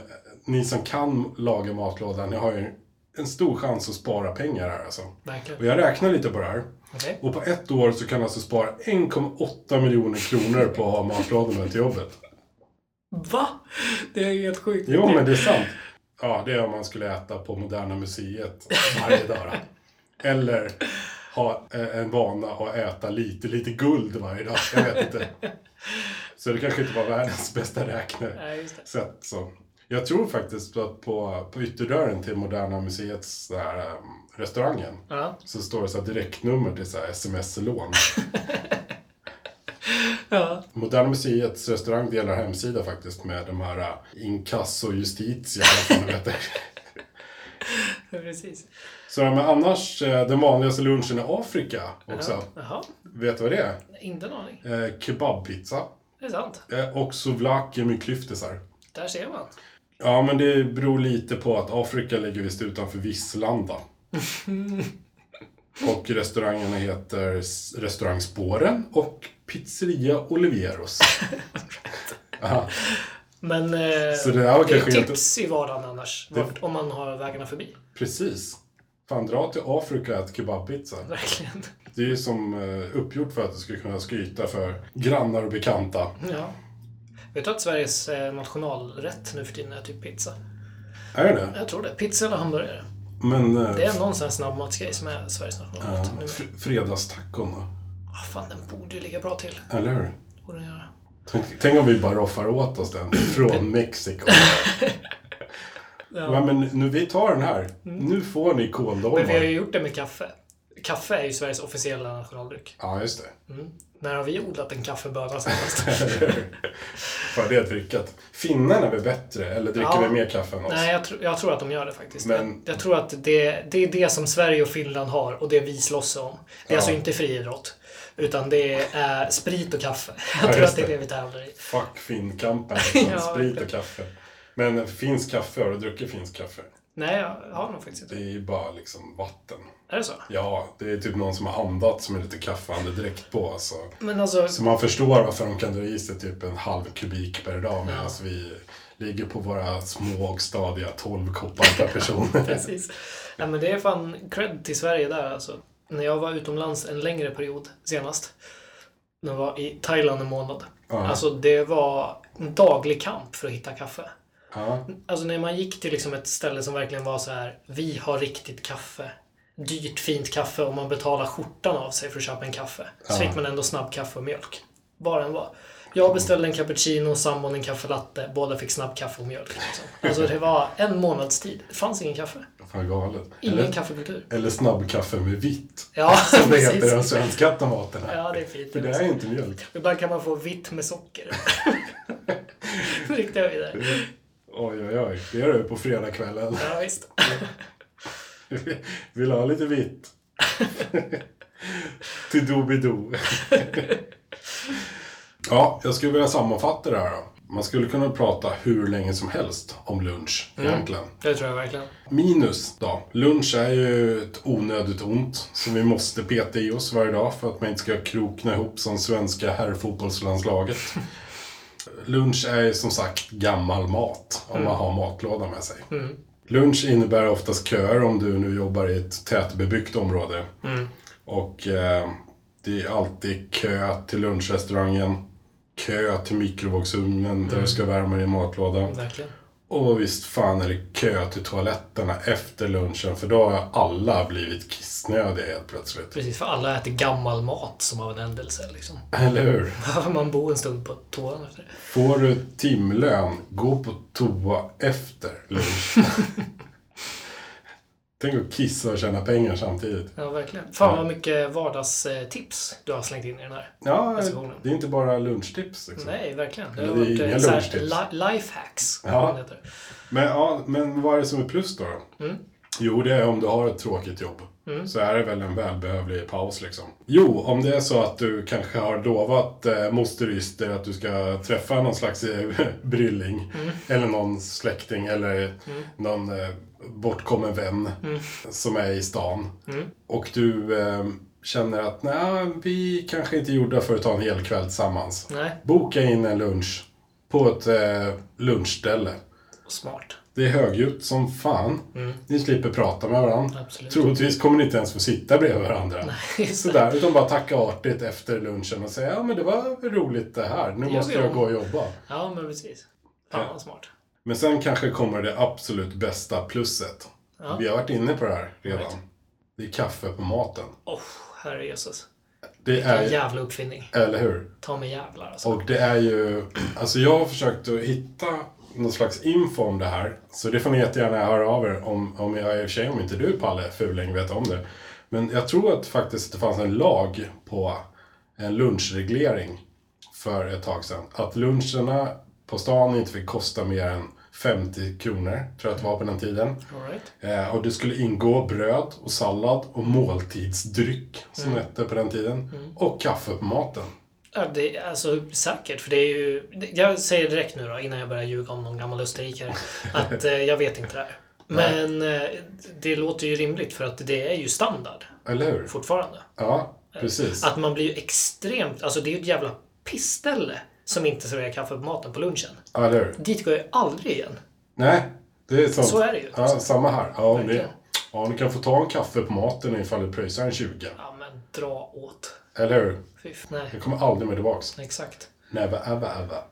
Speaker 2: ni som kan laga matlådan, ni har ju en stor chans att spara pengar här alltså. Och
Speaker 1: Verkligen.
Speaker 2: jag räknar lite på det här.
Speaker 1: Okej.
Speaker 2: Och på ett år så kan man alltså spara 1,8 miljoner kronor på att ha matlådorna till jobbet.
Speaker 1: Va? Det är helt sjukt.
Speaker 2: Jo, men det är sant. Ja, det är om man skulle äta på Moderna Museet varje dag. då. Eller ha eh, en vana att äta lite, lite guld varje dag. Jag vet inte. Så det kanske inte var världens bästa räkne.
Speaker 1: Nej, just det.
Speaker 2: Sätt, så. Jag tror faktiskt att på, på ytterdörren till Moderna Museets så här, eh, restaurangen
Speaker 1: Ja.
Speaker 2: så står det så här direktnummer till så här sms-lån.
Speaker 1: ja.
Speaker 2: Moderna Museets restaurang delar hemsida faktiskt med de här eh, Inkasso Justitia, vad fan det heter.
Speaker 1: Precis.
Speaker 2: Så ja, men annars, eh, den vanligaste lunchen i Afrika också.
Speaker 1: Jaha.
Speaker 2: Vet du vad det är?
Speaker 1: Inte en aning.
Speaker 2: Eh, kebabpizza.
Speaker 1: Det är sant.
Speaker 2: Eh, och souvlaki med klyftisar.
Speaker 1: Där ser man.
Speaker 2: Ja, men det beror lite på att Afrika ligger visst utanför Visslanda. och restaurangerna heter S- Restaurang Spåren och Pizzeria Olivieros. Aha,
Speaker 1: Men eh,
Speaker 2: Så det här var
Speaker 1: det är
Speaker 2: kanske inte-
Speaker 1: tips i vardagen annars. Vart, om man har vägarna förbi.
Speaker 2: precis. Fan, dra till Afrika och ät kebabpizza.
Speaker 1: Verkligen.
Speaker 2: Det är ju som eh, uppgjort för att du ska kunna skryta för grannar och bekanta.
Speaker 1: Ja. Vet du att Sveriges eh, nationalrätt nu för tiden är typ pizza?
Speaker 2: Är det det?
Speaker 1: Jag tror det. Pizza eller hamburgare.
Speaker 2: Men eh,
Speaker 1: Det är någon sån här snabbmatsgrej som är Sveriges nationalrätt.
Speaker 2: ja,
Speaker 1: numera.
Speaker 2: fr- fredagstacon då?
Speaker 1: Ah, fan, den borde ju ligga bra till.
Speaker 2: Eller hur?
Speaker 1: Borde den göra.
Speaker 2: Tänk, tänk om vi bara roffar åt oss den från Mexiko.
Speaker 1: Ja.
Speaker 2: Ja, men nu, vi tar den här. Nu får ni
Speaker 1: Mm. Men vi har ju
Speaker 2: kåldolmar.
Speaker 1: gjort det med kaffe. Kaffe är ju Sveriges officiella nationaldryck. Mm.
Speaker 2: Ja, just det.
Speaker 1: När har vi odlat en kaffeböna senast?
Speaker 2: För det är drickat. Finnarna är väl bättre, eller dricker
Speaker 1: Ja.
Speaker 2: vi mer kaffe än oss?
Speaker 1: Nej, jag, tr- jag tror att de gör det faktiskt.
Speaker 2: Men-
Speaker 1: Jag, jag tror att det, det är det som Sverige och Finland har och det vi slåss om. Det är
Speaker 2: Ja.
Speaker 1: alltså inte friidrott. Utan det är eh, sprit och kaffe.
Speaker 2: Ja,
Speaker 1: Jag tror
Speaker 2: just
Speaker 1: att det är
Speaker 2: det.
Speaker 1: det vi tävlar i.
Speaker 2: Fuck finnkampen. liksom.
Speaker 1: Ja,
Speaker 2: Sprit och kaffe. Men finsk kaffe, har du druckit finsk kaffe?
Speaker 1: Nej, jag har nog faktiskt
Speaker 2: Det
Speaker 1: inte.
Speaker 2: är ju bara liksom vatten.
Speaker 1: Är det så?
Speaker 2: Ja, det är typ någon som har andats med lite kaffeandedräkt på. Alltså.
Speaker 1: Men alltså,
Speaker 2: Så man förstår varför de kan dra i sig typ en halv kubik per dag medan vi ligger på våra små och stadiga 12 koppar per person.
Speaker 1: precis. Nej, men det är fan cred till Sverige där alltså. När jag var utomlands en längre period senast. När jag var i Thailand en månad.
Speaker 2: Ja.
Speaker 1: Alltså det var en daglig kamp för att hitta kaffe.
Speaker 2: ja.
Speaker 1: Alltså när man gick till liksom ett ställe som verkligen var så här. Vi har riktigt kaffe. Dyrt fint kaffe och man betalar skjortan av sig för att köpa en kaffe. Så fick man ändå snabb kaffe och mjölk. Bara en var. Jag beställde en cappuccino, sambon en kaffelatte. Båda fick snabb kaffe och mjölk. Liksom. Alltså det var en månads tid. Det fanns ingen kaffe.
Speaker 2: Fan galet.
Speaker 1: Ingen
Speaker 2: Eller,
Speaker 1: kaffekultur.
Speaker 2: eller snabbkaffe med vitt.
Speaker 1: Ja,
Speaker 2: Som det heter i
Speaker 1: precis.
Speaker 2: de svenska tomaterna.
Speaker 1: Ja, det är fint.
Speaker 2: För det är ju inte mjölk.
Speaker 1: Ibland kan man få vitt med socker. Nu riktar jag vidare.
Speaker 2: Oj, oj, oj. Det gör du på fredagskvällen.
Speaker 1: Ja, visst.
Speaker 2: Vill du ha lite vitt? Till Doobidoo. ja, jag skulle vilja sammanfatta det här då. Man skulle kunna prata hur länge som helst om lunch
Speaker 1: Mm.
Speaker 2: egentligen.
Speaker 1: Det tror jag verkligen.
Speaker 2: Minus då. Lunch är ju ett onödigt ont som vi måste peta i oss varje dag för att man inte ska krokna ihop som svenska herrfotbollslandslaget. Lunch är ju som sagt gammal mat om man har matlåda med sig.
Speaker 1: Mm.
Speaker 2: Lunch innebär oftast köer om du nu jobbar i ett tätbebyggt område.
Speaker 1: Mm.
Speaker 2: Och eh, det är alltid kö till lunchrestaurangen, kö till mikrovågsugnen där du ska värma din matlåda.
Speaker 1: Verkligen.
Speaker 2: Och visst fan är det kö till toaletterna efter lunchen för då har alla blivit kissnödiga helt plötsligt.
Speaker 1: Precis, för alla äter gammal mat som av en händelse. Liksom.
Speaker 2: Eller hur?
Speaker 1: Behöver man bo en stund på toan efter det?
Speaker 2: Får du timlön, gå på toa efter lunch. Tänk att kissa och tjäna pengar samtidigt.
Speaker 1: Ja, verkligen. Fan vad mycket vardagstips du har slängt in i den här.
Speaker 2: Ja,
Speaker 1: Recensionen.
Speaker 2: det är inte bara lunchtips. Liksom.
Speaker 1: Nej, verkligen. Det har
Speaker 2: Men det är
Speaker 1: varit
Speaker 2: inga
Speaker 1: eh, så här,
Speaker 2: lunchtips.
Speaker 1: li- lifehacks.
Speaker 2: Ja.
Speaker 1: vad det heter.
Speaker 2: Men, ja, men vad är det som är plus då? Jo, det är om du har ett tråkigt jobb. Så är det väl en välbehövlig paus liksom. Jo, om det är så att du kanske har lovat eh, moster Yster att du ska träffa någon slags eh, brylling. Eller någon släkting eller någon eh, bortkommen vän som är i stan. Och du eh, känner att nej, vi kanske inte är gjorda för att ta en hel kväll tillsammans.
Speaker 1: Nej,
Speaker 2: Boka in en lunch på ett eh, lunchställe.
Speaker 1: smart.
Speaker 2: Det är högljutt som fan. Ni slipper prata med varandra.
Speaker 1: Absolut.
Speaker 2: Troligtvis kommer ni inte ens få sitta bredvid varandra. Sådär, utan bara tacka artigt efter lunchen och säga ja men det var roligt det här, nu måste
Speaker 1: vi
Speaker 2: jag
Speaker 1: om."
Speaker 2: gå och jobba.
Speaker 1: Ja, men precis. Fan vad smart.
Speaker 2: Men sen kanske kommer det absolut bästa plusset. Vi har varit inne på det här redan. Det är kaffe på maten.
Speaker 1: Åh, herre jösses.
Speaker 2: Det
Speaker 1: Vilken
Speaker 2: är,
Speaker 1: jävla uppfinning.
Speaker 2: eller hur?
Speaker 1: Ta mig jävlar alltså.
Speaker 2: Och det är ju, alltså jag har försökt att hitta någon slags info om det här. Så det får ni jättegärna höra av er om, om jag i och för sig, om inte du Palle Fuling vet om det. Men jag tror att faktiskt det fanns en lag på en lunchreglering för ett tag sedan. Att luncherna på stan inte fick kosta mer än 50 kronor, tror jag att det var på den tiden.
Speaker 1: All right.
Speaker 2: Eh, och det skulle ingå bröd och sallad och måltidsdryck, som det hette på den tiden. Och kaffe på maten.
Speaker 1: Ja, det, är- alltså säkert, för det är ju... det- Jag säger direkt nu då, innan jag börjar ljuga om någon gammal österrikare, att eh, jag vet inte det här. Men eh, det låter ju rimligt för att det är ju standard
Speaker 2: Eller hur?
Speaker 1: fortfarande.
Speaker 2: Ja, precis.
Speaker 1: Att man blir ju extremt... Alltså det är ju ett jävla pissställe som inte serverar kaffe på maten på lunchen.
Speaker 2: Ja, eller hur?
Speaker 1: Dit går jag aldrig igen.
Speaker 2: Nej, det är sånt.
Speaker 1: Så är det ju.
Speaker 2: Ja, samma här. Ja, om ni,
Speaker 1: Verkligen.
Speaker 2: ja, ni kan få ta en kaffe på maten ifall du pröjsar en 20.
Speaker 1: Ja, men dra åt.
Speaker 2: Eller hur?
Speaker 1: Fy, f- nej,
Speaker 2: Jag kommer aldrig mer tillbaks.
Speaker 1: exakt.
Speaker 2: Never ever ever.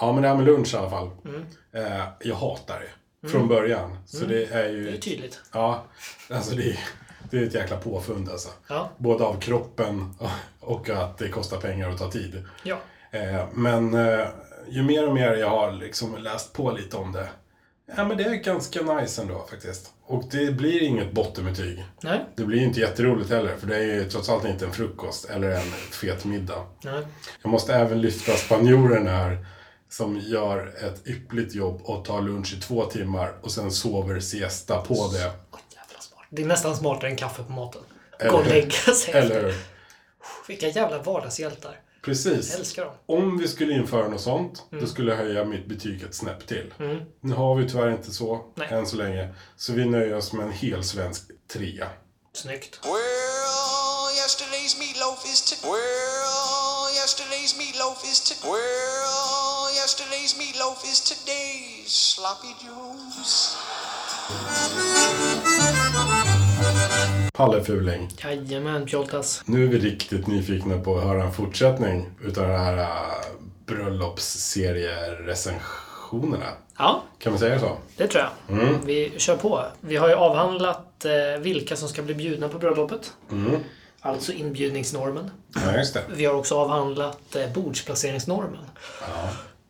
Speaker 2: Ja, men det här med lunch i alla fall.
Speaker 1: Mm.
Speaker 2: Eh, jag hatar det. Från början. Så det är ju...
Speaker 1: Det är tydligt.
Speaker 2: Ja, alltså det är, det är ett jäkla påfund alltså.
Speaker 1: Ja.
Speaker 2: Både av kroppen och att det kostar pengar och tar tid.
Speaker 1: Ja.
Speaker 2: Eh, Eh, Men eh, ju mer och mer jag har liksom läst på lite om det, ja men det är ganska nice ändå faktiskt. Och det blir inget bottenbetyg.
Speaker 1: Nej.
Speaker 2: Det blir ju inte jätteroligt heller, för det är ju trots allt inte en frukost eller en fet middag.
Speaker 1: Nej.
Speaker 2: Jag måste även lyfta spanjoren här, som gör ett yppligt jobb och tar lunch i två timmar och sen sover siesta på det.
Speaker 1: Åh, jävla smart. Det är nästan smartare än kaffe på maten.
Speaker 2: Eller-
Speaker 1: Gå och lägga sig.
Speaker 2: Eller hur?
Speaker 1: Vilka jävla vardagshjältar. Jag
Speaker 2: Precis.
Speaker 1: älskar dem.
Speaker 2: Om vi skulle införa något sånt, då skulle jag höja mitt betyg ett snäpp till. Nu har vi tyvärr inte så,
Speaker 1: Nej.
Speaker 2: än så länge. Så vi nöjer oss med en hel svensk trea.
Speaker 1: Snyggt.
Speaker 4: Well, yesterday's meatloaf is to. Well, yesterday's meatloaf is to. Well, yesterday's meatloaf is today's sloppy joes.
Speaker 2: Palle Fuling,
Speaker 1: Jajamän, Pjoltas.
Speaker 2: nu är vi riktigt nyfikna på att höra en fortsättning utav den här äh, bröllopsserierecensionerna.
Speaker 1: Ja,
Speaker 2: Kan man säga så?
Speaker 1: det tror jag. Vi kör på. Vi har ju avhandlat eh, vilka som ska bli bjudna på bröllopet. Alltså inbjudningsnormen.
Speaker 2: Ja, just det.
Speaker 1: Vi har också avhandlat eh, bordsplaceringsnormen.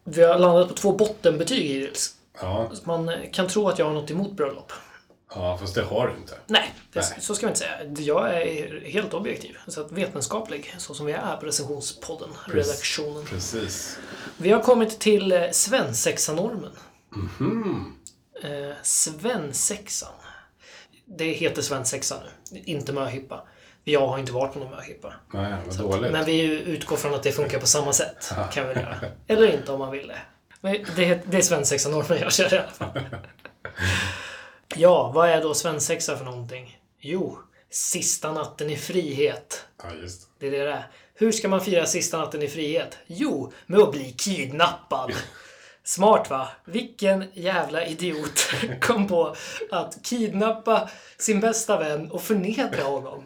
Speaker 1: Vi har landat på två bottenbetyg hittills.
Speaker 2: Ja,
Speaker 1: Så Man eh, kan tro att jag har något emot bröllop.
Speaker 2: ja fast det har du inte.
Speaker 1: Nej, det,
Speaker 2: Nej.
Speaker 1: så ska man inte säga. Jag är helt objektiv. Så att vetenskaplig, så som vi är på recensionspodden, redaktionen.
Speaker 2: Precis.
Speaker 1: Vi har kommit till eh, svensexanormen. Eh, svensexan. Det heter svensexa nu, inte möhippa. Jag har inte varit på någon möhippa.
Speaker 2: Nej, vad dåligt.
Speaker 1: Men vi utgår från att det funkar på samma sätt. kan vi väl göra. Eller inte om man vill det. Men det, det är svensexanormen jag kör i alla fall. Ja, vad är då svensexa för någonting? Jo, sista natten i frihet.
Speaker 2: Ja, just det.
Speaker 1: Det är det det är. Hur ska man fira sista natten i frihet? Jo, med att bli kidnappad. Smart va? Vilken jävla idiot kom på att kidnappa sin bästa vän och förnedra honom.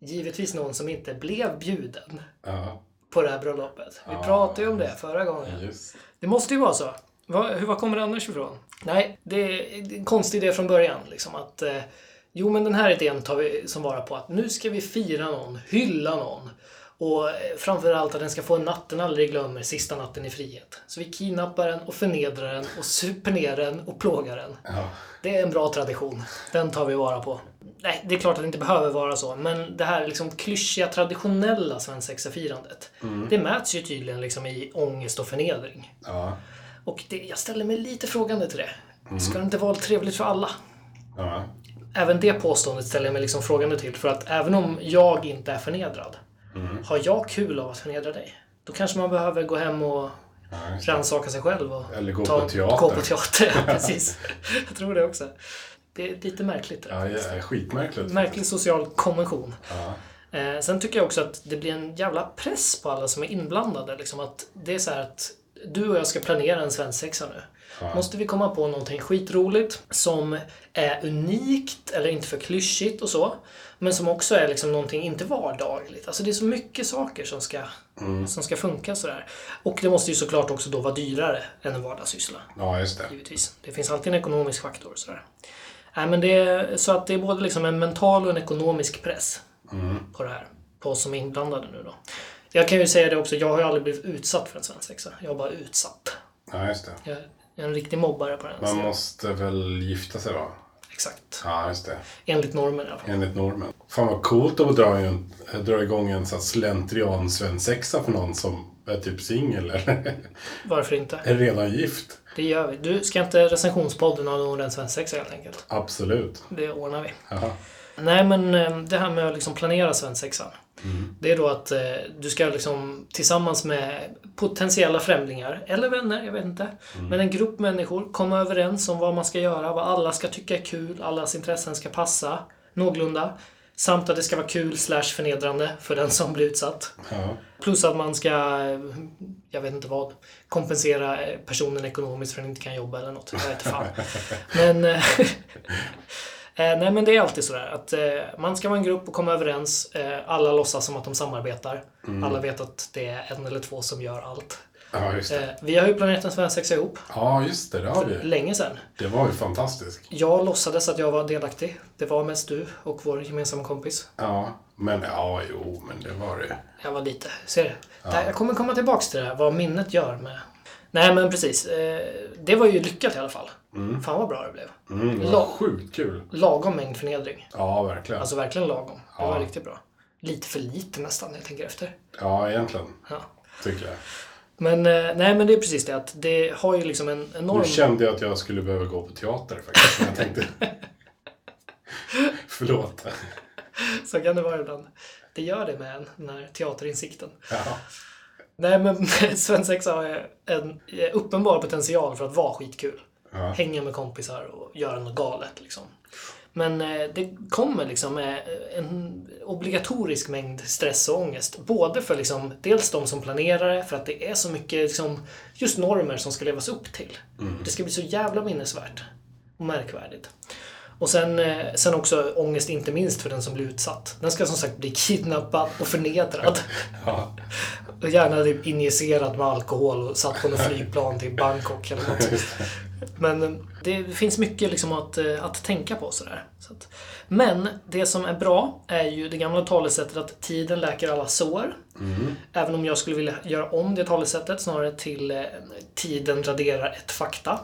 Speaker 1: Givetvis någon som inte blev bjuden
Speaker 2: Ja,
Speaker 1: på det här bröllopet. Vi pratade ju om det förra gången.
Speaker 2: just
Speaker 1: Det måste ju vara så. Vad- hur, var kommer det annars ifrån? Nej, det är det är en konstig idé från början. Liksom, att, eh, jo, men den här idén tar vi som vara på att nu ska vi fira någon, hylla någon. Och eh, framförallt att den ska få en natt den aldrig glömmer, sista natten i frihet. Så vi kidnappar den och förnedrar den och super ner den och plågar den.
Speaker 2: Ja,
Speaker 1: Det är en bra tradition. Den tar vi vara på. Nej, det är klart att det inte behöver vara så, men det här liksom klyschiga traditionella svensexafirandet, det mäts ju tydligen liksom i ångest och förnedring.
Speaker 2: ja,
Speaker 1: Och det, jag ställer mig lite frågande till det.
Speaker 2: Mm.
Speaker 1: Ska det inte vara trevligt för alla?
Speaker 2: ja.
Speaker 1: Även det påståendet ställer jag mig liksom frågande till, för att även om jag inte är förnedrad,
Speaker 2: Mm.
Speaker 1: har jag kul av att förnedra dig? Då kanske man behöver gå hem och
Speaker 2: ja just det.
Speaker 1: rannsaka sig själv och
Speaker 2: Eller gå på teater.
Speaker 1: gå på teater. ja, precis. Jag tror det också. Det är lite märkligt. det där.
Speaker 2: Ja, det är skitmärkligt.
Speaker 1: Märklig social konvention.
Speaker 2: Ja,
Speaker 1: Eh, sen tycker jag också att det blir en jävla press på alla som är inblandade. Liksom att det är så här att du och jag ska planera en svensexa nu. Måste vi komma på någonting skitroligt som är unikt eller inte för klyschigt och så. Men som också är liksom någonting inte vardagligt. Alltså det är så mycket saker som ska, som ska funka sådär. Och det måste ju såklart också då vara dyrare än en vardagssyssla
Speaker 2: ja just det.
Speaker 1: givetvis. Det finns alltid en ekonomisk faktor. och Sådär. Nej, men det är, så att det är både liksom en mental och en ekonomisk press på det här. På oss som är inblandade nu då. Jag kan ju säga det också, jag har ju aldrig blivit utsatt för en svensexa. Jag har bara utsatt.
Speaker 2: Ja, just det.
Speaker 1: Jag är en riktig mobbare på den
Speaker 2: Man
Speaker 1: sidan.
Speaker 2: måste väl gifta sig då?
Speaker 1: Exakt.
Speaker 2: Ja, just det.
Speaker 1: Enligt normen i alla fall.
Speaker 2: Enligt normen. Fan vad coolt att dra, en, dra igång en sån här slentrian svensexa för någon som är typ singel eller
Speaker 1: Varför inte?
Speaker 2: är redan gift.
Speaker 1: Det gör vi. Du, ska inte recensionspodden ha någon en svensexa helt enkelt?
Speaker 2: Absolut.
Speaker 1: Det ordnar vi.
Speaker 2: Ja,
Speaker 1: Nej, men eh, det här med att liksom planera svensexan. Det är då att eh, du ska liksom tillsammans med potentiella främlingar, eller vänner, jag vet inte. Men en grupp människor, komma överens om vad man ska göra, vad alla ska tycka är kul, allas intressen ska passa någorlunda. Samt att det ska vara kul slash förnedrande för den som blir utsatt.
Speaker 2: ja,
Speaker 1: Plus att man ska, eh, jag vet inte vad, kompensera eh, personen ekonomiskt för att den inte kan jobba eller något. Jag vet fan. Men, eh, eh, nej men det är alltid sådär att eh, man ska vara en grupp och komma överens. Eh, alla låtsas som att de samarbetar. Alla vet att det är en eller två som gör allt.
Speaker 2: Ja, just det.
Speaker 1: Eh, vi har ju Planeten Svensexa ihop.
Speaker 2: Ja, just det. Det har vi.
Speaker 1: Länge sedan.
Speaker 2: Det var ju fantastiskt.
Speaker 1: Jag låtsades att jag var delaktig. Det var mest du och vår gemensamma kompis.
Speaker 2: Ja, men ja, jo, men det var det.
Speaker 1: Jag var lite. Ser du? Det här- Jag kommer komma tillbaks till det här, vad minnet gör med... Nej men precis. Eh, det var ju lyckat i alla fall. Fan vad bra det blev.
Speaker 2: Mm, det var
Speaker 1: Lång.
Speaker 2: sjukt kul.
Speaker 1: Lagom mängd förnedring.
Speaker 2: Ja, verkligen.
Speaker 1: Alltså verkligen lagom. Det
Speaker 2: Ja.
Speaker 1: var riktigt bra. Lite för lite nästan när jag tänker efter.
Speaker 2: Ja, egentligen.
Speaker 1: Ja.
Speaker 2: Tycker jag.
Speaker 1: Men eh, nej men det är precis det att det har ju liksom en
Speaker 2: Nu
Speaker 1: enorm...
Speaker 2: kände jag att jag skulle behöva gå på teater faktiskt. Men jag tänkte... Förlåt.
Speaker 1: Så kan det vara ibland. Det gör det med en, den här teaterinsikten.
Speaker 2: Ja.
Speaker 1: Nej men svensexa har ju en eh, uppenbar potential för att vara skitkul.
Speaker 2: Ja.
Speaker 1: Hänga med kompisar och göra något galet liksom. Men eh, det kommer liksom med en obligatorisk mängd stress och ångest. Både för liksom, dels de som planerar det, för att det är så mycket liksom, just normer som ska levas upp till. Det ska bli så jävla minnesvärt och märkvärdigt. Och sen, eh, sen också ångest, inte minst för den som blir utsatt. Den ska som sagt bli kidnappad och förnedrad.
Speaker 2: Ja.
Speaker 1: Och Gärna typ injicerat med alkohol och satt på något flygplan till Bangkok eller något. Men eh, det finns mycket liksom att, eh, att tänka på sådär. Så att, men det som är bra är ju det gamla talesättet att tiden läker alla sår.
Speaker 2: Mm.
Speaker 1: Även om jag skulle vilja göra om det talesättet snarare till eh, tiden raderar ett fakta.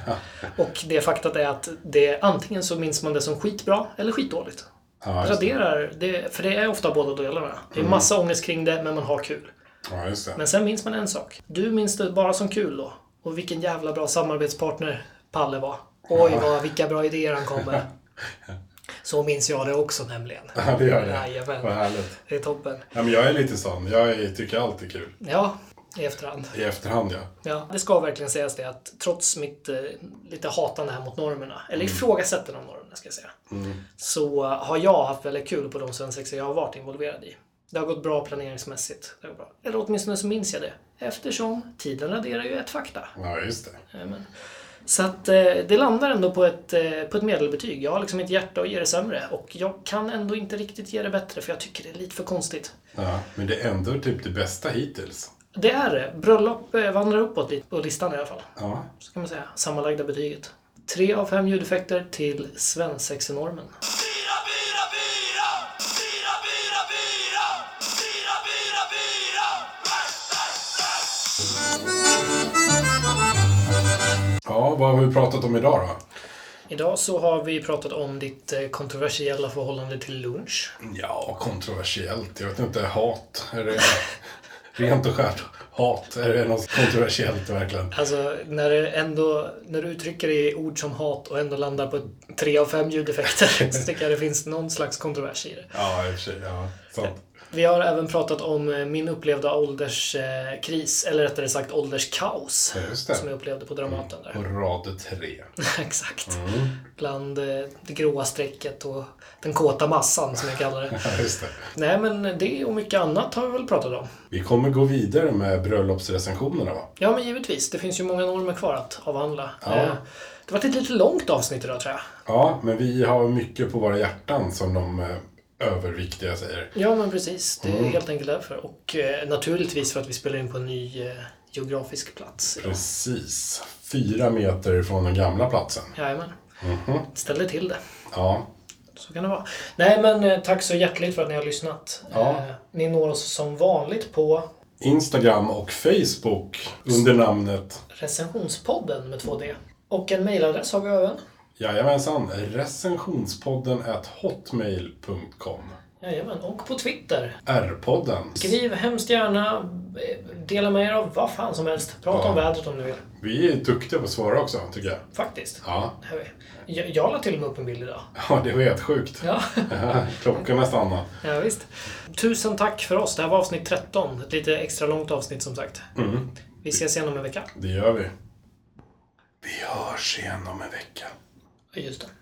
Speaker 1: Och det faktat är att det, antingen så minns man det som skitbra eller skitdåligt.
Speaker 2: Ja, just det. Mm.
Speaker 1: Raderar, det, för det är ofta båda delarna. Det är massa ångest kring det, men man har kul.
Speaker 2: Ja, just det.
Speaker 1: Men sen minns man en sak. Du minns det bara som kul då. Och vilken jävla bra samarbetspartner Palle var. Oj, vad, vilka bra idéer han kom med. Så minns jag det också nämligen.
Speaker 2: Ja, det gör det. Vad
Speaker 1: Jajamän.
Speaker 2: härligt.
Speaker 1: Det är toppen.
Speaker 2: Ja, men jag är lite sån. Jag är- tycker allt är kul.
Speaker 1: Ja, i efterhand.
Speaker 2: I efterhand, ja.
Speaker 1: Ja, det ska verkligen sägas det att trots mitt eh, lite hatande här mot normerna, eller ifrågasättande av normerna ska jag säga, så eh, har jag haft väldigt kul på de svensexor jag har varit involverad i. Det har gått bra planeringsmässigt. Det har gått bra. Eller åtminstone så minns jag det. Eftersom tiden raderar ju ett fakta.
Speaker 2: Ja, just det.
Speaker 1: Jajamän. Så att eh, det landar ändå på ett, eh, på ett medelbetyg. Jag har liksom ett hjärta att ge det sämre och jag kan ändå inte riktigt ge det bättre för jag tycker det är lite för konstigt.
Speaker 2: Ja, men det är ändå typ det bästa hittills.
Speaker 1: Det är det. Bröllop eh, vandrar uppåt lite på listan i alla fall.
Speaker 2: Ja.
Speaker 1: Så kan man säga. Sammanlagda betyget. Tre av fem ljudeffekter till svensexenormen.
Speaker 4: Bira, bira, bira! Bira, bira, bira! Bira, bira, bira!
Speaker 2: ja, vad har vi pratat om idag då?
Speaker 1: Idag så har vi pratat om ditt eh, kontroversiella förhållande till lunch.
Speaker 2: Ja, kontroversiellt. Jag vet inte. Hat. Är det... Rent och skärt hat. Är det något kontroversiellt verkligen?
Speaker 1: Alltså när, det ändå, när du uttrycker det i ord som hat och ändå landar på ett tre av fem ljudeffekter så tycker jag det finns någon slags kontrovers i det.
Speaker 2: Ja, i och för sig. Ja, sant.
Speaker 1: Vi har även pratat om eh, min upplevda ålderskris, eller rättare sagt ålderskaos.
Speaker 2: Ja, just det.
Speaker 1: Som jag upplevde på Dramaten där.
Speaker 2: Och rad tre.
Speaker 1: Exakt. Bland eh, det gråa strecket och den kåta massan som jag kallar det.
Speaker 2: Ja, just det.
Speaker 1: Nej men det och mycket annat har vi väl pratat om.
Speaker 2: Vi kommer gå vidare med bröllopsrecensionerna va?
Speaker 1: Ja men givetvis, det finns ju många normer kvar att avhandla.
Speaker 2: Ja.
Speaker 1: Eh, Det var ett lite långt avsnitt idag tror jag.
Speaker 2: Ja, men vi har mycket på våra hjärtan som de eh, överviktiga säger.
Speaker 1: Ja men precis, det är helt enkelt därför. Och eh, naturligtvis för att vi spelar in på en ny eh, geografisk plats.
Speaker 2: Mm. Precis. Fyra meter från den gamla platsen.
Speaker 1: Jajamän. Ställde till det.
Speaker 2: Ja,
Speaker 1: Så kan det vara. Nej men eh, tack så hjärtligt för att ni har lyssnat.
Speaker 2: Ja.
Speaker 1: Eh, Ni når oss som vanligt på
Speaker 2: Instagram och Facebook under namnet
Speaker 1: recensionspodden med 2D. Och en mejladress har vi även.
Speaker 2: Jajamensan, recensionspodden at hotmail.com.
Speaker 1: Jajamän, och på Twitter.
Speaker 2: R-podden.
Speaker 1: Skriv hemskt gärna, eh, dela med er av vad fan som helst. Prata
Speaker 2: Ja.
Speaker 1: om vädret om ni vill.
Speaker 2: Vi är duktiga på att svara också, tycker jag.
Speaker 1: Faktiskt.
Speaker 2: Ja,
Speaker 1: Det här är- Jag, jag la till och med upp en bild idag.
Speaker 2: ja det var helt sjukt.
Speaker 1: Ja.
Speaker 2: Klockan har stannat.
Speaker 1: ja, visst. Tusen tack för oss. Det här var avsnitt 13. Ett lite extra långt avsnitt som sagt.
Speaker 2: Mm.
Speaker 1: Vi ses igen om en vecka.
Speaker 2: Det gör vi. Vi hörs igen om en vecka.
Speaker 1: Just det.